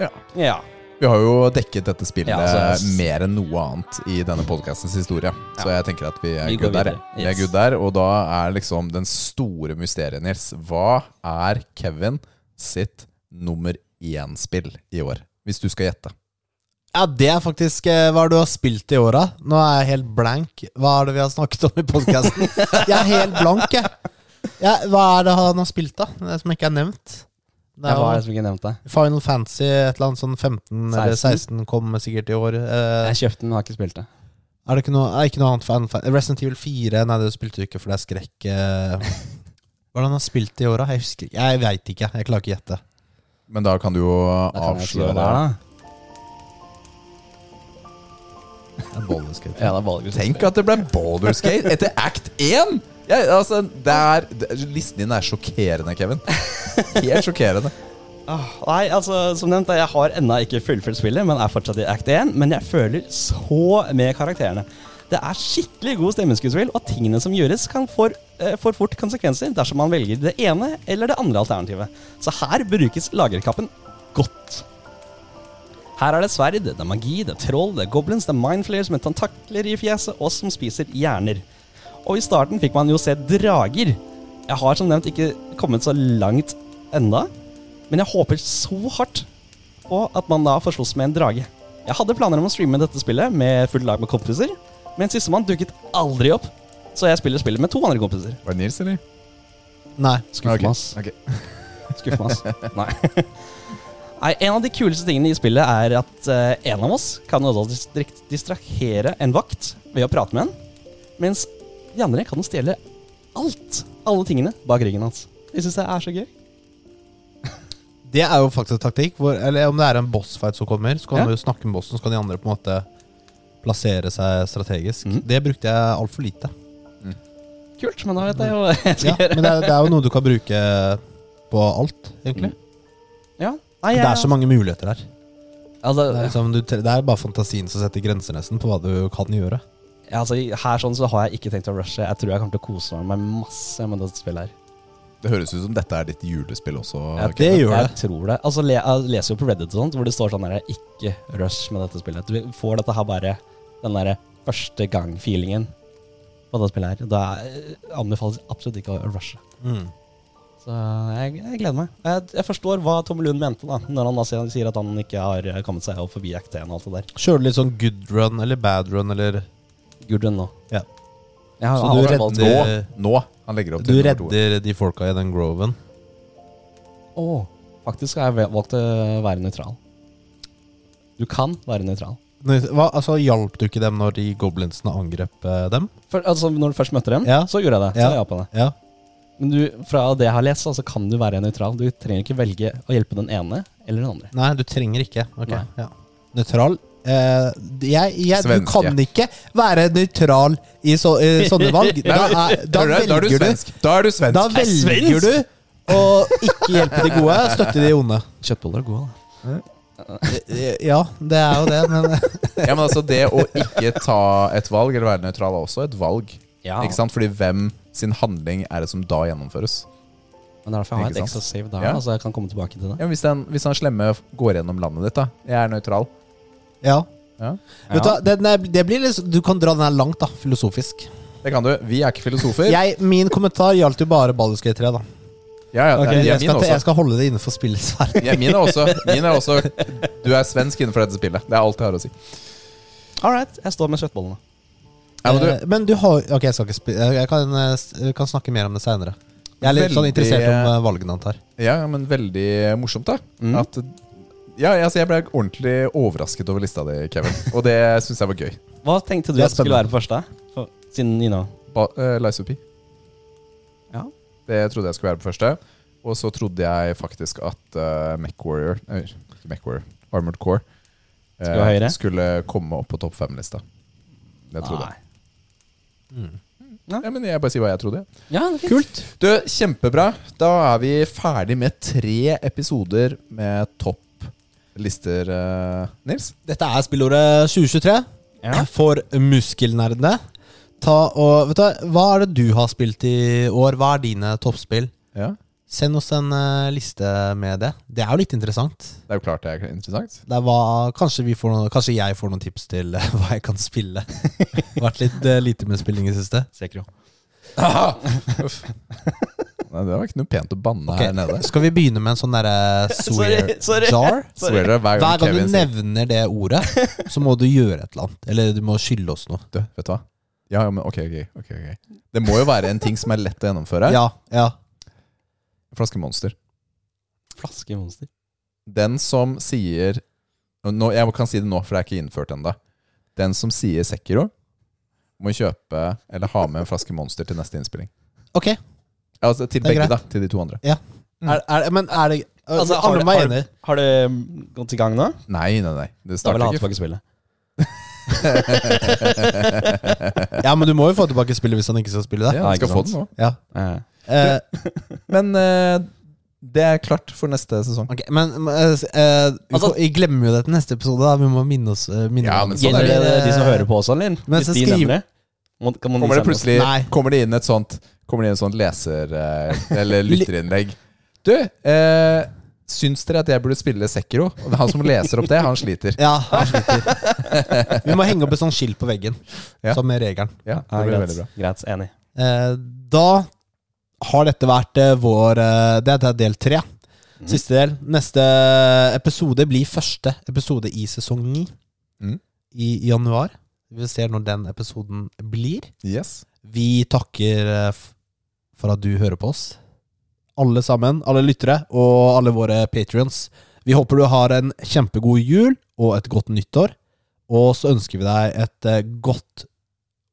[SPEAKER 2] Ja.
[SPEAKER 3] Ja.
[SPEAKER 2] Vi har jo dekket dette spillet
[SPEAKER 3] Ja, altså-
[SPEAKER 2] mer enn noe annet i denne podcastens historie. Så jeg tenker at vi er
[SPEAKER 3] Vi går
[SPEAKER 2] good der.
[SPEAKER 3] videre.
[SPEAKER 2] Vi er
[SPEAKER 3] Yes.
[SPEAKER 2] good der, Og da er liksom den store mysteriet, Nils. Hva er Kevin sitt nummer én-spill i år? Hvis du skal gjette.
[SPEAKER 1] Ja, det er faktisk eh, Hva er det du har spilt i åra? Nå er jeg helt blank. Hva er det vi har snakket om i podkasten? Jeg er helt blank, jeg. Ja, hva er det han har spilt, da? Det som ikke er nevnt? Det
[SPEAKER 3] Det
[SPEAKER 1] er
[SPEAKER 3] var
[SPEAKER 1] jo
[SPEAKER 3] det som ikke nevnte.
[SPEAKER 1] Final Fantasy, et eller annet sånn 15 eller
[SPEAKER 3] 16?
[SPEAKER 1] 16 kom sikkert i år. Eh,
[SPEAKER 3] Jeg kjøpte den, har ikke spilt det.
[SPEAKER 1] er det ikke noe, er det ikke noe annet Final Fantasy? Resident Evil 4? Nei, det spilte du ikke, for det er skrekk. eh. Hva er det han har spilt i åra? Jeg husker ikke. Jeg veit ikke. Jeg klarer ikke å gjette.
[SPEAKER 2] Men da kan du jo
[SPEAKER 3] Da kan jeg si
[SPEAKER 2] avsløre
[SPEAKER 3] hva det er, da.
[SPEAKER 1] Det er bolleskudd.
[SPEAKER 3] Ja, det er valget.
[SPEAKER 2] Tenk at det ble Baldur's Gate etter Act 1! Ja, altså, det er, det, listen din er sjokkerende, Kevin. Helt sjokkerende.
[SPEAKER 3] Ah, nei, altså, som nevnt, jeg har ennå ikke fullført spillet, men er fortsatt i act 1. Men jeg føler så med karakterene. Det er skikkelig god stemmeskuespill, og tingene som gjøres, kan får, eh, får fort konsekvenser dersom man velger det ene eller det andre alternativet. Så her brukes lagerkappen godt. Her er det sverd, det er magi, det er troll, det er goblins, det er mindflayers med tentakler i fjeset, og som spiser hjerner. Og i starten fikk man jo se drager. Jeg har som nevnt ikke kommet så langt enda, men jeg håper så hardt på at man da får slåss med en drage. Jeg hadde planer om å streame dette spillet med fullt lag med kompiser, men sistemann dukket aldri opp, så jeg spiller spillet med to andre kompiser.
[SPEAKER 2] Var det Nils, eller?
[SPEAKER 1] Nei.
[SPEAKER 3] Skuffer meg, ass.
[SPEAKER 2] Ok. Ok.
[SPEAKER 3] Skuff meg, ass. Nei. [laughs] Nei, en av de kuleste tingene i spillet er at eh, en av oss kan også distrik- distrahere en vakt ved å prate med en, mens de andre kan stjele alt, alle tingene, bak ryggen hans. Jeg syns det er så gøy.
[SPEAKER 1] Det er jo faktisk en taktikk. Hvor, eller om det er en bossfight som kommer, så kan
[SPEAKER 3] Ja.
[SPEAKER 1] du snakke med bossen, så kan de andre på en måte plassere seg strategisk.
[SPEAKER 3] Mhm.
[SPEAKER 1] Det brukte jeg altfor lite.
[SPEAKER 3] Kult, men da vet jeg jo [laughs] hva jeg skal
[SPEAKER 1] Ja, men det er, det er jo noe du kan bruke på alt, egentlig.
[SPEAKER 3] gjøre. Ja. Nei,
[SPEAKER 1] Det er så mange muligheter her. Det er,
[SPEAKER 3] altså,
[SPEAKER 1] liksom, du, tre- det er bare fantasien som setter grenser nesten på hva du kan gjøre.
[SPEAKER 3] ja, altså, her sånn så har jeg ikke tenkt å rushe. Jeg tror jeg kommer til å kose meg masse med dette spillet her.
[SPEAKER 2] Det høres ut som dette er ditt julespill også.
[SPEAKER 3] Ja,
[SPEAKER 2] Kevin.
[SPEAKER 1] Det gjør
[SPEAKER 3] Jeg
[SPEAKER 1] det.
[SPEAKER 3] tror det. Altså, le, jeg leser jo på Reddit og sånt, hvor det står sånn der, ikke rush med dette spillet. Du får dette her bare, den der første gang-feelingen på dette spillet her. Da eh, anbefales absolutt ikke å rushe.
[SPEAKER 1] Mm.
[SPEAKER 3] Så jeg, jeg gleder meg. Jeg, jeg forstår hva Tom Lund mente da, når han da sier- sier at han ikke har eh, kommet seg opp forbi Act 1 og alt det der.
[SPEAKER 1] Kjører du litt sånn good run eller bad run eller
[SPEAKER 3] Gudrun nå.
[SPEAKER 1] Ja.
[SPEAKER 3] Jeg har,
[SPEAKER 1] Så
[SPEAKER 3] har
[SPEAKER 1] du
[SPEAKER 3] valgt-
[SPEAKER 1] redder-
[SPEAKER 2] Nå, nå. Han legger opp
[SPEAKER 1] Du
[SPEAKER 2] til nummer to.
[SPEAKER 1] redder de folka i den groven.
[SPEAKER 3] Å, faktisk har jeg vel- valgt å være nøytral. Du kan være nøytral.
[SPEAKER 1] Nei, Hva, altså, Hjalp du ikke dem når de goblinsene angrep eh, dem?
[SPEAKER 3] For, altså, når du først møtte dem,
[SPEAKER 1] Ja.
[SPEAKER 3] så gjorde jeg det. Så
[SPEAKER 1] Ja.
[SPEAKER 3] jeg ja på det.
[SPEAKER 1] Ja.
[SPEAKER 3] Men du, fra det jeg har lest, så altså, kan du være nøytral. Du trenger ikke velge å hjelpe den ene eller den andre.
[SPEAKER 1] Nei, du trenger ikke. Ok,
[SPEAKER 3] Nei.
[SPEAKER 1] ja Nøytral eh, jeg, jeg, Du
[SPEAKER 2] Svenske.
[SPEAKER 1] kan ikke være nøytral i, så, i sånne
[SPEAKER 2] [laughs]
[SPEAKER 1] valg. Da, er, da
[SPEAKER 2] Hører du? da er du
[SPEAKER 1] velger du
[SPEAKER 2] svensk. Da er du svensk.
[SPEAKER 1] Da
[SPEAKER 3] Er svensk?
[SPEAKER 1] velger du å ikke hjelpe de gode, støtte de onde. Eh,
[SPEAKER 3] Kjøttboller er gode, da.
[SPEAKER 1] Ja, det er jo det, men [laughs]
[SPEAKER 2] Ja, men altså Det å ikke ta et valg, eller være nøytral, er også et valg.
[SPEAKER 3] Ja.
[SPEAKER 2] Ikke sant? Fordi hvem sin handling er det som da gjennomføres?
[SPEAKER 3] Men det er derfor jeg har et
[SPEAKER 2] Ikke
[SPEAKER 3] ekstra
[SPEAKER 2] sant?
[SPEAKER 3] save der,
[SPEAKER 2] Ja.
[SPEAKER 3] da, så jeg kan komme tilbake til det.
[SPEAKER 2] Ja, men hvis, den, hvis han slemme går gjennom landet ditt, da. Jeg er nøytral.
[SPEAKER 1] Ja.
[SPEAKER 2] Ja.
[SPEAKER 1] Vet du, hva, den er, det blir liksom, du kan dra den her langt, da. Filosofisk.
[SPEAKER 2] Det kan du. Vi er ikke filosofer.
[SPEAKER 1] Jeg, min kommentar gjaldt jo bare Ballerskøy 3, da.
[SPEAKER 2] Ja, ja,
[SPEAKER 3] Ok,
[SPEAKER 2] det er-
[SPEAKER 1] Jeg
[SPEAKER 2] jeg, min
[SPEAKER 1] skal, jeg
[SPEAKER 2] også.
[SPEAKER 1] skal holde det innenfor spillets verden.
[SPEAKER 2] Ja, min er også. Min er også Du er svensk innenfor dette spillet. Det er alt jeg har å si.
[SPEAKER 3] All right, jeg står med kjøttbollene.
[SPEAKER 2] Ja, men du,
[SPEAKER 1] Eh, Men du har Ok, jeg skal ikke spille Jeg kan, eh, s- kan snakke mer om det seinere. Jeg er litt sånn
[SPEAKER 2] Veldig-
[SPEAKER 1] interessert om eh, valgene han tar.
[SPEAKER 2] Ja, ja, men veldig morsomt, da.
[SPEAKER 3] Mm.
[SPEAKER 2] At ja, jeg- altså, jeg ble ordentlig overrasket over lista di, Kevin. Og det syns jeg var gøy.
[SPEAKER 3] Hva tenkte du
[SPEAKER 1] Det er
[SPEAKER 3] at skulle være på første? For- Siden you know.
[SPEAKER 2] Ba eh, Lies of P.
[SPEAKER 3] Ja.
[SPEAKER 2] Det trodde jeg skulle være på første. Og så trodde jeg faktisk at uh, MechWarrior Nei, ikke MechWarrior. Armored Core eh,
[SPEAKER 3] Skulle være høyere?
[SPEAKER 2] skulle komme opp på topp fem-lista. Det trodde
[SPEAKER 1] Ah.
[SPEAKER 2] jeg. Ja, men jeg bare sier hva jeg trodde.
[SPEAKER 3] Ja, det er fint.
[SPEAKER 1] Kult.
[SPEAKER 2] Du, kjempebra. Da er vi ferdig med tre episoder med topplister, eh, Nils.
[SPEAKER 1] Dette er spillordet 2023
[SPEAKER 3] Ja.
[SPEAKER 1] for muskelnerdene. Ta og, vet du, hva- hva er det du har spilt i år? Hva er dine toppspill?
[SPEAKER 2] Ja.
[SPEAKER 1] Send oss en eh, liste med det. Det er jo litt interessant.
[SPEAKER 2] Det er jo klart det er [laughs] interessant.
[SPEAKER 1] Det er hva, kanskje, vi får noen, kanskje jeg får noen tips til eh, [laughs] hva jeg kan spille. Vært litt eh, lite med spilling i det siste.
[SPEAKER 3] Sekro.
[SPEAKER 2] Uff. [laughs] Nei, det var ikke noe pent å banne
[SPEAKER 1] Ok,
[SPEAKER 2] her nede.
[SPEAKER 1] Skal vi begynne med en sånn derre swear
[SPEAKER 3] [laughs] Sorry, sorry.
[SPEAKER 1] jar?
[SPEAKER 2] Swear det hver gang
[SPEAKER 1] Hver gang
[SPEAKER 2] Kevin
[SPEAKER 1] du
[SPEAKER 2] sier
[SPEAKER 1] nevner det ordet, så må du gjøre et eller annet. Eller du må skylde oss noe.
[SPEAKER 2] Du, vet du hva? Ja, ja, men ok, ok, ok, ok. Det må jo være en ting som er lett å gjennomføre.
[SPEAKER 1] Ja, ja.
[SPEAKER 2] Flaske Monster.
[SPEAKER 3] Flaskemonster.
[SPEAKER 2] Den som sier nå, Jeg kan si det nå, for det er ikke innført ennå. Den som sier Sekiro, må kjøpe eller ha med en flaske Monster til neste innspilling.
[SPEAKER 1] Ok.
[SPEAKER 2] Ja, Altså til
[SPEAKER 1] Det er
[SPEAKER 2] begge,
[SPEAKER 1] greit.
[SPEAKER 2] da. Til de to andre.
[SPEAKER 1] Er, er, men er det altså,
[SPEAKER 3] har,
[SPEAKER 1] Alle
[SPEAKER 3] det,
[SPEAKER 1] må være
[SPEAKER 3] har,
[SPEAKER 1] enig.
[SPEAKER 3] har det mm, gått i gang nå?
[SPEAKER 2] Nei, nei, nei. Det
[SPEAKER 3] Da vil jeg
[SPEAKER 2] starter
[SPEAKER 3] ha
[SPEAKER 2] ikke. [laughs]
[SPEAKER 3] tilbake spillet.
[SPEAKER 1] Ja, men du må jo få tilbake spillet hvis han ikke skal spille det.
[SPEAKER 2] Ja,
[SPEAKER 3] Ja,
[SPEAKER 2] du skal
[SPEAKER 3] ikke
[SPEAKER 2] få
[SPEAKER 3] sant.
[SPEAKER 2] den nå.
[SPEAKER 1] Ja.
[SPEAKER 3] Eh,
[SPEAKER 1] Eh,
[SPEAKER 2] Men eh, det er klart for neste sesong.
[SPEAKER 1] ok, men eh, eh, vi
[SPEAKER 3] Altså-
[SPEAKER 1] får- vi glemmer jo det til neste episode. Da. Vi må minne oss eh, minne
[SPEAKER 2] Ja,
[SPEAKER 1] om
[SPEAKER 2] men sånn
[SPEAKER 3] Gjelder
[SPEAKER 2] er
[SPEAKER 3] det
[SPEAKER 1] Blir
[SPEAKER 3] de som hører på også, eller?
[SPEAKER 1] Men
[SPEAKER 3] Hvis
[SPEAKER 1] så
[SPEAKER 3] de
[SPEAKER 1] skriv-
[SPEAKER 3] nevner det? Må, kan man
[SPEAKER 2] Kommer det
[SPEAKER 3] sende oss-
[SPEAKER 2] plutselig
[SPEAKER 1] Nei.
[SPEAKER 2] Kommer det inn et sånt Kommer det inn et sånt leser- eh, eller lytterinnlegg. Du, eh, syns dere at jeg burde spille Sekiro? Og Han som leser opp det, han sliter.
[SPEAKER 1] Ja, han sliter. [laughs] Vi må henge opp et sånt skilt på veggen,
[SPEAKER 2] Ja.
[SPEAKER 1] som er regelen.
[SPEAKER 2] Ja, det
[SPEAKER 3] Ja,
[SPEAKER 2] blir
[SPEAKER 3] greit.
[SPEAKER 2] veldig bra.
[SPEAKER 3] greit, enig.
[SPEAKER 1] Eh, da har dette vært eh, vår eh, Det er- det er del tre. Siste del. Neste episode blir første episode i sesong ni
[SPEAKER 2] Mhm.
[SPEAKER 1] i januar. Vi ser når den episoden blir.
[SPEAKER 2] Yes.
[SPEAKER 1] Vi takker eh, f- for at du hører på oss. Alle sammen, alle lyttere og alle våre patrions. Vi håper du har en kjempegod jul og et godt nyttår. Og så ønsker vi deg et eh, godt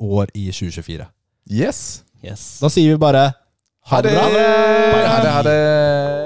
[SPEAKER 1] år i 2024.
[SPEAKER 2] Yes.
[SPEAKER 3] Yes.
[SPEAKER 1] Da sier vi bare ha det bra.
[SPEAKER 2] Ha det, ha det.